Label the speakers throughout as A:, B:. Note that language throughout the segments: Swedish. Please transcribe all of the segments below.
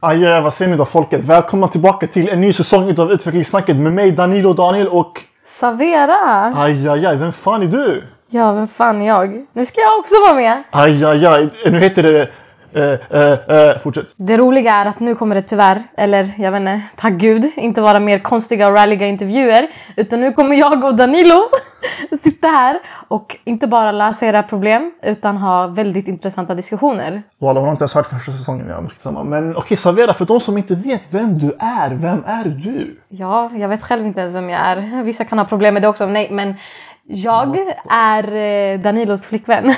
A: Ajaj, vad säger ni då folket? Välkomna tillbaka till en ny säsong utav Utvecklingssnacket med mig Danilo Daniel och
B: Savera!
A: ajajaj, vem fan är du?
B: Ja, vem fan är jag? Nu ska jag också vara med!
A: Ajajaj, nu heter det... Eh, eh, eh, fortsätt.
B: Det roliga är att nu kommer det tyvärr, eller jag vet inte, tack gud, inte vara mer konstiga och ralliga intervjuer. Utan nu kommer jag och Danilo sitta här och inte bara lösa era problem utan ha väldigt intressanta diskussioner.
A: Walla, hon har inte ens hört första säsongen. Jag märkte samma. Men okej, Savera, för de som inte vet vem du är, vem är du?
B: Ja, jag vet själv inte ens vem jag är. Vissa kan ha problem med det också. Nej, men jag är eh, Danilos flickvän.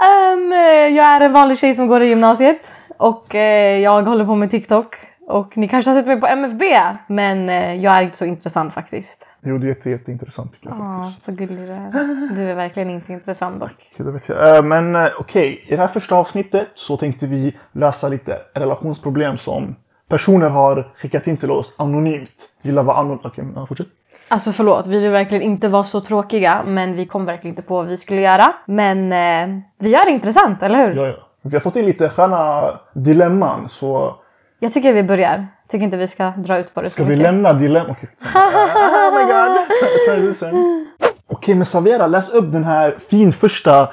B: Ehm, eh, jag är en vanlig tjej som går i gymnasiet och eh, jag håller på med TikTok. Och ni kanske har sett mig på MFB, men eh, jag är inte så intressant faktiskt.
A: Jo, det är jätte, jätteintressant tycker jag.
B: Ja, så gullig du är. Du är verkligen inte intressant dock.
A: Okej, då vet jag. Eh, Men eh, okej, i det här första avsnittet så tänkte vi lösa lite relationsproblem som personer har skickat in till oss anonymt. Gillar vad anonymt... Okej, okay, fortsätt.
B: Alltså förlåt, vi vill verkligen inte vara så tråkiga, men vi kom verkligen inte på vad vi skulle göra. Men eh, vi gör det intressant, eller hur?
A: Ja, ja. Vi har fått in lite sköna dilemman så
B: Jag tycker vi börjar. Tycker inte vi ska dra ut på det
A: ska
B: så
A: vi
B: mycket.
A: lämna dilemman? Okej, oh my god! Try this in. Okej, men Savera läs upp den här fin första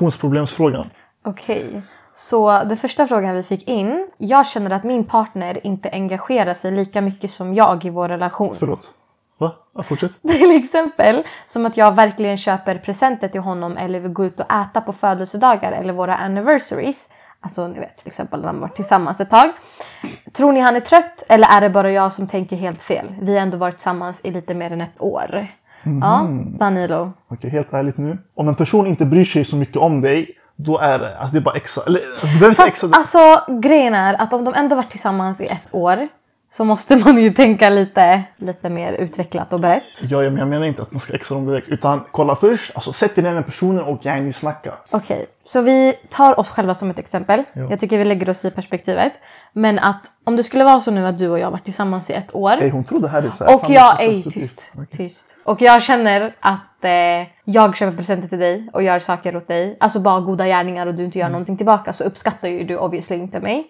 A: relationsproblemsfrågan.
B: Okej. Så den första frågan vi fick in. Jag känner att min partner inte engagerar sig lika mycket som jag i vår relation.
A: Förlåt. Va? Ja, fortsätt.
B: Till exempel som att jag verkligen köper presenter till honom eller vill gå ut och äta på födelsedagar eller våra anniversaries. Alltså ni vet till exempel när man varit tillsammans ett tag. Tror ni han är trött eller är det bara jag som tänker helt fel? Vi har ändå varit tillsammans i lite mer än ett år. Ja,
A: Mhm.
B: Danilo.
A: Okej, helt ärligt nu. Om en person inte bryr sig så mycket om dig, då är det... Alltså det är bara extra... Eller, du behöver inte
B: Fast
A: extra...
B: alltså grejen är att om de ändå varit tillsammans i ett år så måste man ju tänka lite, lite mer utvecklat och brett.
A: Ja, ja, men jag menar inte att man ska extra dem direkt. Utan kolla först, alltså sätt dig ner med personen och gärna snacka.
B: Okej, så vi tar oss själva som ett exempel.
A: Ja.
B: Jag tycker vi lägger oss i perspektivet. Men att om det skulle vara så nu att du och jag varit tillsammans i ett år
A: Ej, hon tror det här är så här
B: och jag är
A: samhällskonstruktivt.
B: tyst,
A: Okej.
B: tyst. Och jag känner att eh, jag köper presenter till dig och gör saker åt dig. Alltså bara goda gärningar och du inte gör
A: Mm.
B: någonting tillbaka så uppskattar ju du obviously inte mig.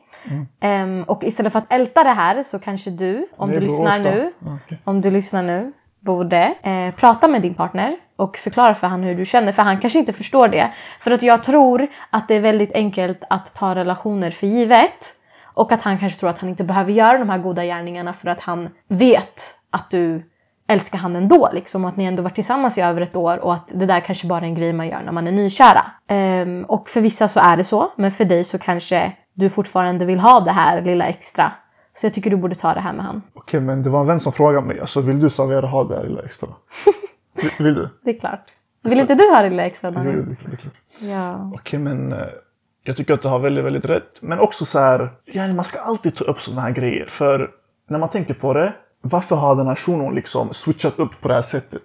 B: Ehm, och istället för att älta det här så kanske du, om
A: Nej, bror,
B: du lyssnar
A: årsdag.
B: nu,
A: Ja, okej.
B: om du lyssnar nu, borde eh, prata med din partner och förklara för han hur du känner. För han kanske inte förstår det. För att jag tror att det är väldigt enkelt att ta relationer för givet. Och att han kanske tror att han inte behöver göra de här goda gärningarna för att han vet att du älskar han ändå. Liksom, och att ni ändå varit tillsammans i över ett år och att det där kanske bara är en grej man gör när man är nykära. Ehm, och för vissa så är det så, men för dig så kanske du fortfarande vill ha det här lilla extra. Så jag tycker du borde ta det här med han.
A: Okej, men det var en vän som frågade mig. Alltså, vill du servera ha det här lilla extra? Vill, vill du?
B: Det är klart. Vill inte du ha det lilla extra
A: Jo, jo,
B: Daniel?
A: det är klart, det är klart.
B: Ja.
A: Okej, men eh, jag tycker att du har väldigt, väldigt rätt. Men också så här, ja, man ska alltid ta upp sådana här grejer. För när man tänker på det, varför har den här shunon liksom switchat upp på det här sättet?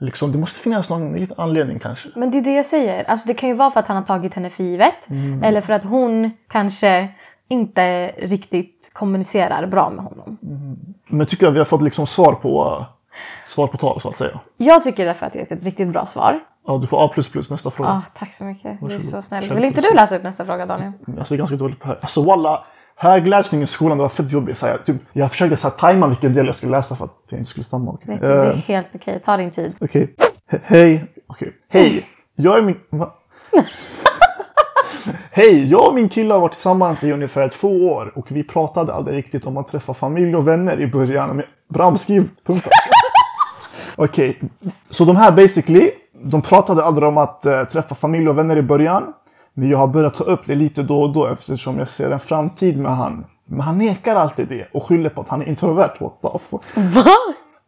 A: Liksom, det måste finnas någon liten anledning kanske.
B: Men det är det jag säger. Alltså det kan ju vara för att han har tagit henne för givet.
A: Mm.
B: Eller för att hon kanske inte riktigt kommunicerar bra med honom.
A: Men tycker jag vi har fått liksom svar på, eh, svar på tal så att säga.
B: Jag tycker därför att det är ett riktigt bra svar.
A: Ja, du får A++ nästa fråga.
B: Ah, tack så mycket. Du är
A: Varsågod.
B: så snäll.
A: Självklart.
B: Vill inte du läsa upp nästa fråga Daniel?
A: Alltså det är ganska dåligt på hög. Alltså walla, högläsning i skolan det var fett jobbigt. Så här, typ, jag försökte så här, tajma vilken del jag skulle läsa för att jag inte skulle stamma. Okej.
B: Vet du, det är
A: Eh,
B: helt okej. Ta din tid.
A: okej. He- Hej. Okej. Hej. Jag är min... Va? Hej, jag och min kille har varit tillsammans i ungefär två år och vi pratade aldrig riktigt om att träffa familj och vänner i början. Men Bramskrivet. Punkt. Okej, så de här basically, de pratade aldrig om att eh, träffa familj och vänner i början. Men jag har börjat ta upp det lite då och då eftersom jag ser en framtid med han. Men han nekar alltid det och skyller på att han är introvert. What the fuck?
B: Va?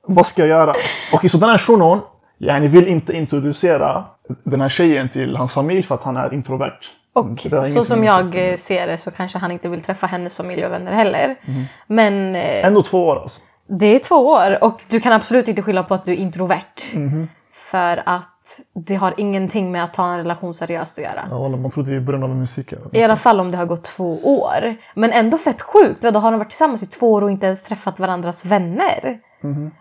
A: Vad ska jag göra? Okej, så den här shunon, yani vill inte introducera den här tjejen till hans familj för att han är introvert.
B: Och
A: Det där är
B: så
A: ingenting
B: som
A: med
B: jag eh, ser det så kanske han inte vill träffa hennes familj och vänner heller.
A: Mm.
B: Men eh,
A: Ändå två år alltså.
B: Det är två år och du kan absolut inte skylla på att du är introvert. För att det har ingenting med att ta en relation seriöst att göra.
A: Ja, walla, man trodde i början av musiken.
B: I alla fall om det har gått två år. Men ändå fett sjukt. Då har de varit tillsammans i två år och inte ens träffat varandras vänner.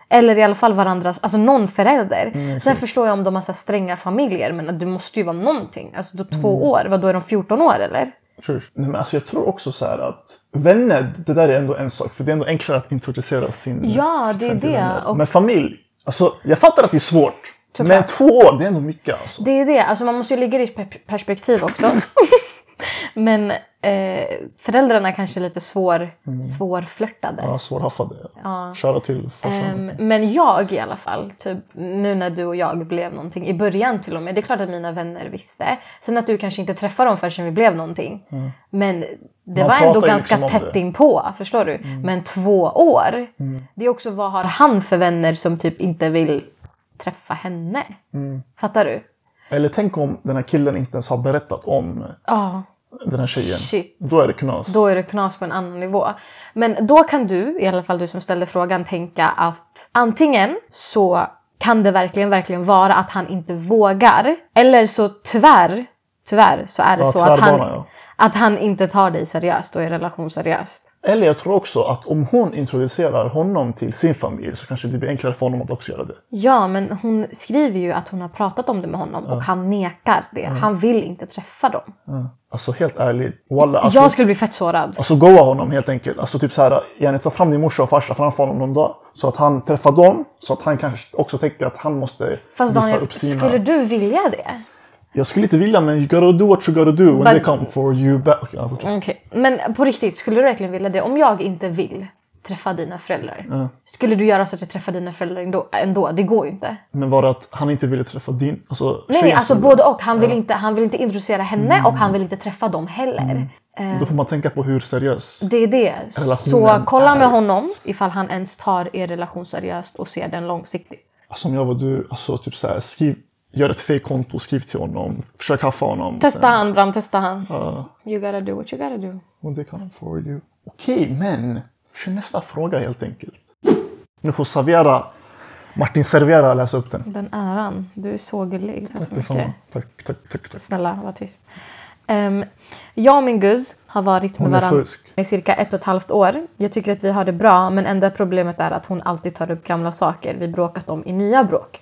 B: Eller i alla fall varandras, alltså någon förälder. Sen förstår jag om de har så här stränga familjer men att du måste ju vara någonting. Alltså då två år, vad då är de 14 år eller?
A: Sure. Nej, men alltså jag tror också så här att vänner, det där är ändå en sak. För det är ändå enklare att introducera sin
B: Ja, det är
A: till
B: det.
A: vänner.
B: Och
A: Men familj, alltså jag fattar att det är svårt.
B: Såklart.
A: Men två år, det är ändå mycket alltså.
B: det är det. Alltså man måste ju lägga det i per- perspektiv också. Men eh, föräldrarna kanske är lite svår, svårflörtade.
A: Mm. Ja, svårhaffade.
B: Ja.
A: Köra till farsan.
B: Ehm, men jag i alla fall, typ, nu när du och jag blev någonting, i början till och med, det är klart att mina vänner visste. Sen att du kanske inte träffade dem förrän vi blev någonting. Men det
A: Mm. Man
B: var ändå
A: pratar ju
B: ganska
A: liksom om
B: tätt
A: det. Mm.
B: inpå, förstår du? Men två år, det är också vad har han för vänner som typ inte vill träffa henne?
A: Mm.
B: Fattar du?
A: Eller tänk om den här killen inte ens har berättat om
B: Ja,
A: den här tjejen.
B: shit.
A: Då är det knas.
B: Då är det knas på en annan nivå. Men då kan du, i alla fall du som ställde frågan, tänka att antingen så kan det verkligen, verkligen vara att han inte vågar. Eller så tyvärr, tyvärr så är det
A: Ja,
B: så att han,
A: tvärbana, ja.
B: att han inte tar dig seriöst och er relation seriöst.
A: Eller jag tror också att om hon introducerar honom till sin familj så kanske det blir enklare för honom att också göra det.
B: Ja, men hon skriver ju att hon har pratat om det med honom och han nekar det. Han vill inte träffa dem.
A: Alltså helt ärligt. Walla, alltså,
B: Jag skulle bli fett sårad.
A: alltså goa honom helt enkelt. Alltså typ såhär, gärna ta fram din morsa och farsa framför honom någon dag. Så att han träffar dem. Så att han kanske också tänker att han måste
B: Fast
A: visa
B: Daniel,
A: upp sina...
B: skulle du vilja det?
A: Jag skulle inte vilja men you gotta do what you gotta do when
B: But-
A: they come for you back. Okej, ja, fortsätt.
B: Okej, men på riktigt, skulle du verkligen vilja det? Om jag inte vill träffa dina föräldrar, skulle du göra så att jag träffar dina föräldrar ändå? ändå? Det går ju inte.
A: Men var det att han inte ville träffa din... Alltså,
B: Nej,
A: tjejen
B: alltså
A: som-
B: både och. Han vill, inte, han vill inte introducera henne
A: Mm.
B: och han vill inte träffa dem heller. Eh,
A: Då får man tänka på hur seriös.
B: Det är det. Så
A: Relationen
B: kolla med
A: är-
B: honom ifall han ens tar er relation seriöst och ser den långsiktigt.
A: Alltså, om jag var du, alltså typ såhär, skriv... Gör ett fake-konto, skriv till honom, försök haffa honom.
B: Testa han Bram, testa han.
A: Ja.
B: You gotta do what you gotta do.
A: When they come for you. Okej, men kör nästa fråga helt enkelt. Nu får Savera, Martin Servera läsa upp den.
B: Den äran. Du är så gullig. Tack så mycket.
A: Detsamma. Tack, tack, tack. tack.
B: Snälla, var tyst. Ehm, jag och min guzz har varit med
A: Hon är
B: varandra
A: fusk.
B: i cirka ett och ett halvt år. Jag tycker att vi har det bra, men enda problemet är att hon alltid tar upp gamla saker vi bråkat om i nya bråk.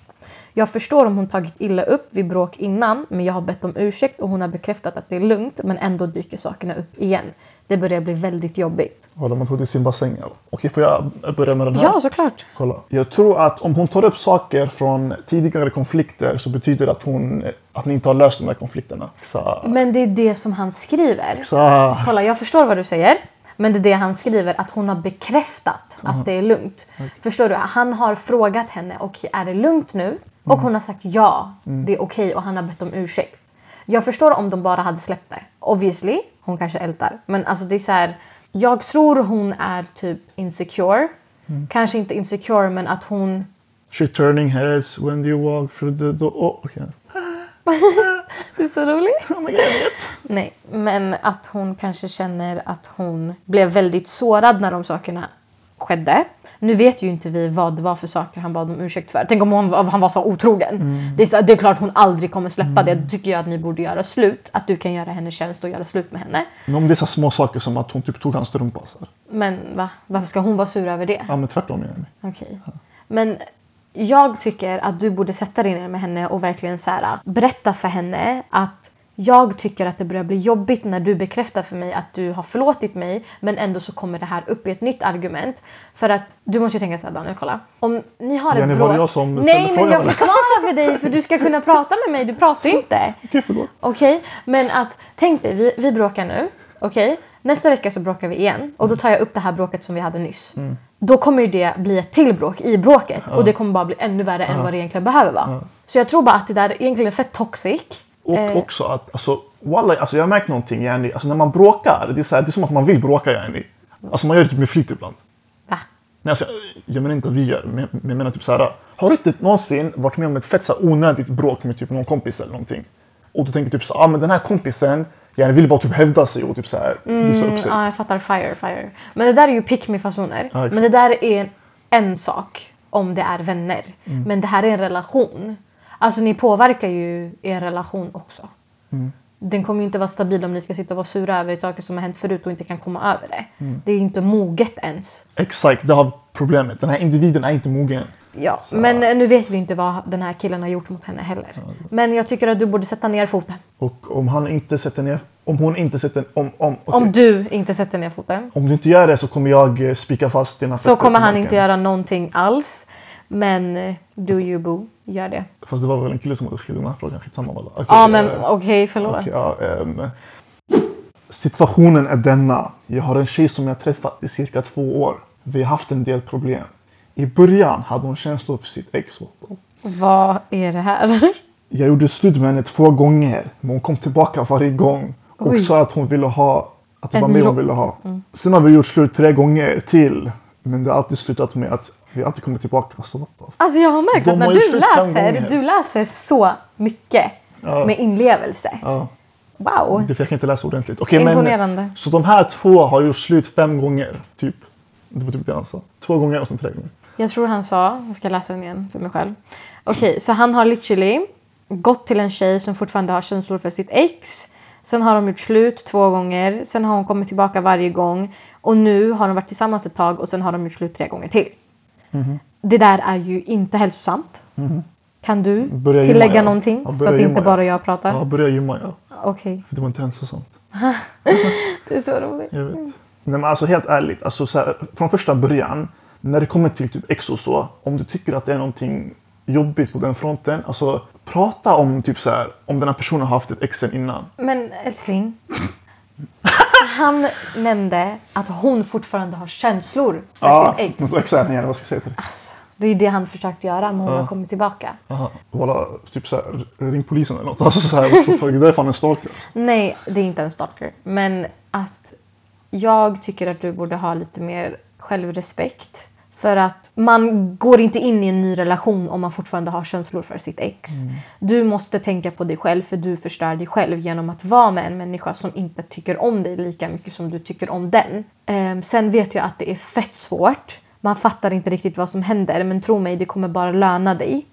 B: Jag förstår om hon tagit illa upp vid bråk innan, men jag har bett om ursäkt och hon har bekräftat att det är lugnt, men ändå dyker sakerna upp igen. Det börjar bli väldigt jobbigt.
A: Håller man tog till sin bassäng. ja. Okej, får jag börja med den här?
B: Ja, såklart.
A: Kolla. Jag tror att om hon tar upp saker från tidigare konflikter så betyder det att, hon, att ni inte har löst de här konflikterna. Så,
B: Men det är det som han skriver.
A: så.
B: Kolla, jag förstår vad du säger. Men det är det han skriver, att hon har bekräftat att det är lugnt. Förstår du? Han har frågat henne, okej är det lugnt nu? Och hon har sagt ja, det är okej och han har bett om ursäkt. Jag förstår om de bara hade släppt det. Obviously, hon kanske ältar. Men alltså det är så här, jag tror hon är typ insecure. Kanske inte insecure men att hon
A: She turning heads when you walk through the door. Oh, okay.
B: Du är så rolig.
A: oh my god, jag vet.
B: Nej, men att hon kanske känner att hon blev väldigt sårad när de sakerna skedde. Nu vet ju inte vi vad det var för saker han bad om ursäkt för. Tänk om hon, om han var så otrogen. Det, är så, det är klart hon aldrig kommer släppa det. Då tycker jag att ni borde göra slut. Att du kan göra henne tjänst och göra slut med henne.
A: Men om det är så små saker som att hon typ tog hans strumpa. Så här.
B: Men va? Varför ska hon vara sur över det?
A: Ja, men tvärtom. Jenny.
B: Okej. Men jag tycker att du borde sätta dig ner med henne och verkligen så här, berätta för henne att jag tycker att det börjar bli jobbigt när du bekräftar för mig att du har förlåtit mig men ändå så kommer det här upp i ett nytt argument. För att du måste ju tänka så här Daniel, kolla. Om ni har
A: Jenny,
B: ett
A: var
B: bråk...
A: det jag som ställde
B: Nej, men
A: frågan,
B: jag
A: eller?
B: förklarar för dig för du ska kunna prata med mig. Du pratar ju inte.
A: Okej, förlåt.
B: Okej, men att tänk dig, vi, vi bråkar nu. Okej, nästa vecka så bråkar vi igen och
A: Mm.
B: då tar jag upp det här bråket som vi hade nyss. Då kommer ju det bli ett till bråk i bråket och det kommer bara bli ännu värre än vad det egentligen behöver vara. Så jag tror bara att det där egentligen är fett toxic. Eh,
A: Och också att, alltså, walla, alltså jag har märkt någonting Jenny. Alltså när man bråkar, det är, så här, det är som att man vill bråka Jenny. Alltså man gör det typ med flit ibland.
B: Va?
A: Nej, alltså, jag- jag menar inte att vi gör men men jag menar typ så här. Har du inte någonsin varit med om ett fett så här, onödigt bråk med typ någon kompis eller någonting? Och du tänker typ så här, ah, men den här kompisen Jenny vill bara typ hävda sig och typ så här, visa upp sig.
B: Mm, Ja, jag fattar. Fire, fire. Men det där är ju pick me-fasoner.
A: Ja, exakt.
B: Men det där är en sak om det är vänner.
A: Mm.
B: Men det här är en relation. Alltså ni påverkar ju er relation också.
A: Mm.
B: Den kommer ju inte vara stabil om ni ska sitta och vara sura över saker som har hänt förut och inte kan komma över det.
A: Mm.
B: Det är ju inte moget ens.
A: Exakt, det har problemet. Den här individen är inte mogen.
B: Ja,
A: Så-
B: men eh, nu vet vi inte vad den här killen har gjort mot henne heller. Men jag tycker att du borde sätta ner foten.
A: Och om han inte sätter ner Om hon inte sätter... Om, om, okej.
B: Om du inte sätter ner foten
A: om du inte gör det så kommer jag eh, spika fast dina
B: så
A: fötter
B: kommer
A: på
B: han
A: marken.
B: inte göra någonting alls. Men eh, do you boo, gör det.
A: Fast det var väl en kille som hade skrivit den här frågan. Skitsamma. walla. Okej,
B: Ja men
A: eh,
B: okej, förlåt.
A: Okej, ja, ehm. situationen är denna. Jag har en tjej som jag träffat i cirka två år. Vi har haft en del problem. I början hade hon känslor för sitt ex.
B: Vad är det här?
A: Jag gjorde slut med henne två gånger, men hon kom tillbaka varje gång och
B: Oj.
A: sa att hon ville ha, att det
B: En
A: var mig hon
B: ro- Mm.
A: ville ha. Sen har vi gjort slut tre gånger till, men det har alltid slutat med att vi alltid kommer tillbaka. Alltså, what the f-
B: Alltså jag har märkt
A: De
B: att
A: har
B: när
A: ju
B: du
A: slut fem
B: läser,
A: gånger.
B: du läser så mycket
A: Ja.
B: med inlevelse.
A: ja,
B: Wow!
A: det är för jag kan inte läsa ordentligt. Okej,
B: Imponerande.
A: Men, så de här två har gjort slut fem gånger, typ. Det var typ det han sa. Två gånger och sen tre gånger.
B: Jag tror han sa, jag ska läsa den igen för mig själv. Okej, så han har literally gått till en tjej som fortfarande har känslor för sitt ex. Sen har de gjort slut två gånger, sen har hon kommit tillbaka varje gång och nu har de varit tillsammans ett tag och sen har de gjort slut tre gånger till.
A: Mhm.
B: Det där är ju inte hälsosamt. Kan du
A: Börja gymma,
B: tillägga
A: ja.
B: någonting
A: Ja,
B: så
A: börja
B: att det
A: gymma,
B: inte
A: ja.
B: bara jag pratar?
A: Ja, börja gymma ja.
B: Okej,
A: För det var inte hälsosamt.
B: det är så roligt.
A: Jag vet. Nej, men alltså helt ärligt, alltså, så här, från första början, när det kommer till typ ex och så, om du tycker att det är någonting jobbigt på den fronten, alltså prata om typ så här, om den här personen har haft ett ex sen innan.
B: Men älskling. Han nämnde att hon fortfarande har känslor för sitt
A: men
B: ex.
A: så exakt, nej, vad ska jag säga till dig?
B: Alltså, det är ju det han försökt göra, men hon har kommit tillbaka.
A: Aha. Voilà, typ så här, ring polisen eller något. Alltså så här, what the fuck, det där är fan en stalker. alltså.
B: Nej, det är inte en stalker. Men att jag tycker att du borde ha lite mer självrespekt. För att man går inte in i en ny relation om man fortfarande har känslor för sitt ex. Du måste tänka på dig själv för du förstör dig själv genom att vara med en människa som inte tycker om dig lika mycket som du tycker om den. Ehm, sen vet jag att det är fett svårt. Man fattar inte riktigt vad som händer men tro mig, det kommer bara löna dig.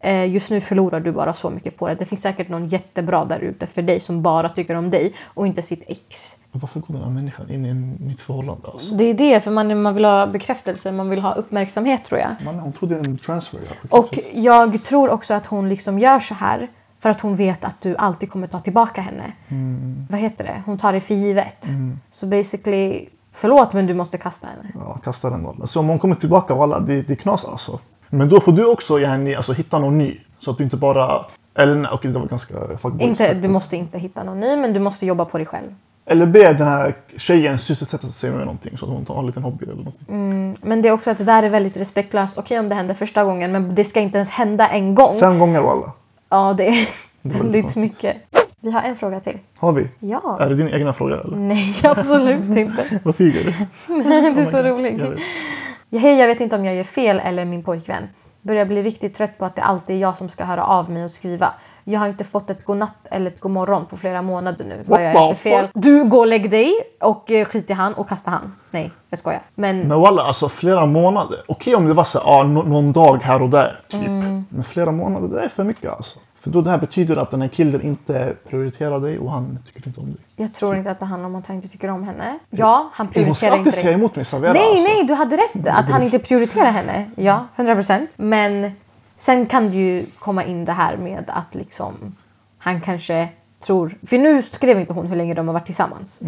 B: Eh, Just nu förlorar du bara så mycket på det. Det finns säkert någon jättebra där ute för dig som bara tycker om dig och inte sitt ex.
A: Varför går den här människan in i ett nytt förhållande? Alltså?
B: Det är det, för man, man vill ha bekräftelse, man vill ha uppmärksamhet tror jag.
A: Man, hon trodde en transfer. ja.
B: Och jag tror också att hon liksom gör så här för att hon vet att du alltid kommer ta tillbaka henne.
A: Mm.
B: Vad heter det? Hon tar det för givet. Så basically, förlåt men du måste kasta henne.
A: Ja, kasta den bollen. Så om hon kommer tillbaka, walla, det, det är knas alltså. Men då får du också yani, alltså, hitta någon ny. Så att du inte bara... Eller nej, okej det var ganska fuckboys.
B: Inte, du måste inte hitta någon ny, men du måste jobba på dig själv.
A: Eller be den här tjejen sysselsätta sig med någonting så att hon tar en liten hobby eller någonting.
B: Mm. Men det är också att det där är väldigt respektlöst. Okej om det händer första gången, men det ska inte ens hända en gång.
A: Fem gånger walla.
B: Ja, det är
A: var lite
B: väldigt
A: konstigt.
B: mycket. Vi har en fråga till.
A: Har vi? Är
B: Ja. Mm.
A: det din egna fråga eller?
B: Nej, absolut inte.
A: Vad flyger du?
B: Det är så
A: Jag vet.
B: roligt. Hej, jag vet inte om jag gör fel eller min pojkvän. Börjar bli riktigt trött på att det alltid är jag som ska höra av mig och skriva. Jag har inte fått ett godnatt eller ett godmorgon på flera månader nu. Vad jag
A: What
B: gör för
A: the
B: fel. Du, gå och lägg dig och eh, skit i han och kasta han. Nej, jag skojar. Men
A: Men walla, alltså flera månader. Okej om det var så här, ah, nå- någon dag här och där, typ.
B: Mm.
A: Men flera månader, det är för mycket alltså. För då det här betyder att den här killen inte prioriterar dig och han tycker inte om dig.
B: jag tror inte att det handlar om att han inte tycker om henne. Ja, han
A: Hon ska
B: prioriterar
A: alltid
B: inte
A: säga
B: dig.
A: emot mig, Savera.
B: Nej,
A: alltså.
B: nej, du hade rätt att han inte prioriterar henne. Ja, 100 procent. Men sen kan det ju komma in det här med att liksom han kanske tror... För nu skrev inte hon hur länge de har varit tillsammans.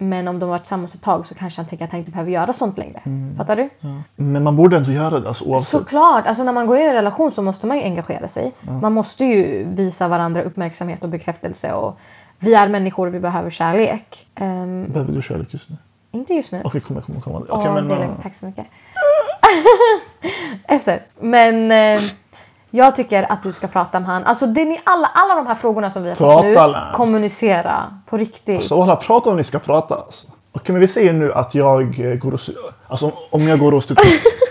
B: Men om de har varit tillsammans ett tag så kanske han tänker att han inte behöver göra sånt längre. Fattar du?
A: Men man borde ändå göra det alltså, oavsett.
B: Såklart! Alltså när man går in i en relation så måste man ju engagera sig. Man måste ju visa varandra uppmärksamhet och bekräftelse. Och vi är människor och vi behöver kärlek. Ehm,
A: Behöver du kärlek just nu?
B: inte just nu.
A: Okej, kom jag kommer komma. Okej,
B: Åh,
A: men,
B: det är
A: äh,
B: lugnt. Tack så mycket. Efter. Men eh, jag tycker att du ska prata med han. Alltså det är ni alla, alla de här frågorna som vi har fått nu.
A: Prata med han. Alltså-
B: Kommunicera på riktigt.
A: så walla, prata om ni ska prata. Alltså. Okej, men vi säger nu att jag eh, går och... sy- Alltså om jag går och typ...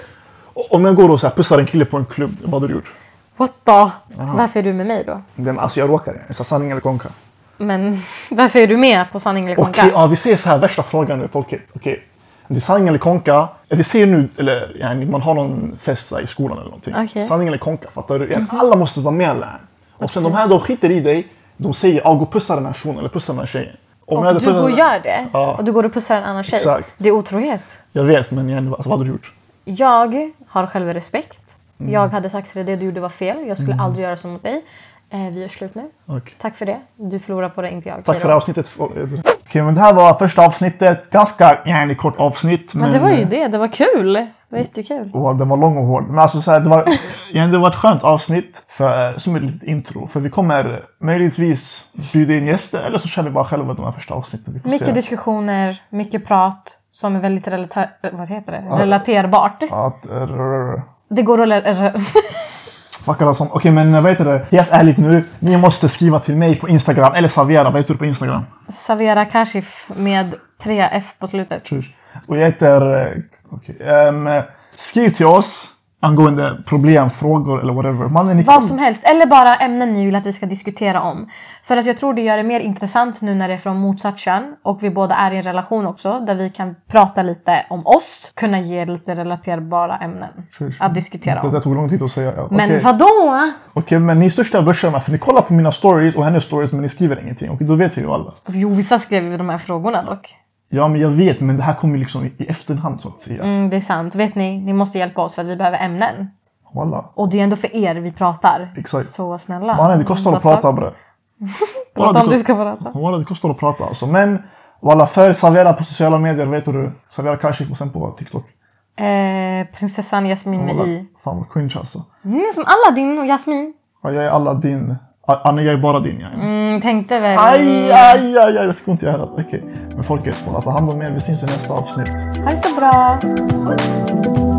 A: om jag går och så här, pussar en kille på en klubb, vad hade du gjort?
B: What the? Varför är du med mig då?
A: Nej, men Alltså jag råkar. Så här, sanning eller konka?
B: Men varför är du med på sanning eller
A: Okej,
B: konka?
A: ja, vi säger så här, värsta frågan nu folket. Okej. Det är sanning eller konka. Vi ser nu, eller yani, man har någon fest så här i skolan eller någonting.
B: Okej. Mhm.
A: Sanning eller konka, fattar du? Yani, Alla måste vara med lär. Och sen de här, de skiter i dig. De säger, ja gå och pussa den här shunon eller pussa den här tjejen. Om jag
B: och
A: hade
B: du
A: pussat
B: går och
A: den-
B: gör det.
A: Ja.
B: Och du går och pussar en annan tjej.
A: Exakt.
B: Det är otrohet.
A: Jag vet, men yani, alltså, vad hade du gjort? Mm.
B: Jag har självrespekt. Jag hade sagt till dig det du gjorde var fel. Jag skulle aldrig göra så mot dig. Eh, vi gör slut nu.
A: Okej.
B: Tack för det. Du förlorar på det, inte jag.
A: Tack
B: Hej
A: för
B: då.
A: avsnittet. Okej, men det här var första avsnittet. Ganska ja, kort avsnitt. Men, eh,
B: Men det var ju det. Det var kul. Det var jättekul.
A: Åh, den var lång och hård. Men alltså så här, det var, igen, det var ett skönt avsnitt för, eh, som ett litet intro. För vi kommer möjligtvis bjuda in gäster eller så kör vi bara själva de här första avsnitten. Vi får
B: Mycket
A: se.
B: diskussioner, mycket prat som är väldigt relata- vad heter det? relaterbart.
A: Att, eh, rrr,
B: Det går att... eh, re- re-
A: fuck alla sånt. Okej, men eh, vad heter det? Helt ärligt nu. Ni måste skriva till mig på Instagram. Eller Savera, vad heter du på Instagram?
B: Savera Kashif med tre F på slutet.
A: Tjus. Och jag heter... eh, okej, ehm, skriv till oss angående problem, frågor eller whatever. Mannen, ni
B: Vad som helst, eller bara ämnen ni vill att vi ska diskutera om. För att jag tror det gör det mer intressant nu när det är från motsatt kön och vi båda är i en relation också där vi kan prata lite om oss, kunna ge lite relaterbara ämnen
A: Tjus.
B: att diskutera
A: Det
B: om.
A: där tog lång tid att säga.
B: Men
A: Okej.
B: vadå?
A: Okej, men ni är största börsarna för ni kollar på mina stories och hennes stories men ni skriver ingenting. Och då vet jag ju alla.
B: Jo, vissa skrev ju de här frågorna dock.
A: Ja, men jag vet, men det här kommer ju liksom i, i efterhand så att säga.
B: Mm, det är sant. Vet ni, ni måste hjälpa oss för att vi behöver ämnen.
A: Walla.
B: Och det är ändå för er vi pratar.
A: Exakt.
B: Så snälla.
A: Mannen, det kostar att
B: Vad fan?
A: prata bre.
B: Prata om
A: det
B: du ska prata.
A: Walla, det kostar att prata alltså. Men walla, för Savera på sociala medier, vet du? Savera Kashif och sen på TikTok.
B: Eh, prinsessan Jasmin med
A: Walla,
B: i.
A: fan vad cringe alltså.
B: Mm, som Aladdin och Jasmin.
A: Ja, jag är alla din. A- Anna, jag är bara din. Jag.
B: Mm, tänkte väl.
A: Aj, aj, aj, aj, jag fick ont i örat. Okej. Men folket, walla, ta hand om er. Vi syns i nästa avsnitt.
B: Ha det så bra.
A: Så.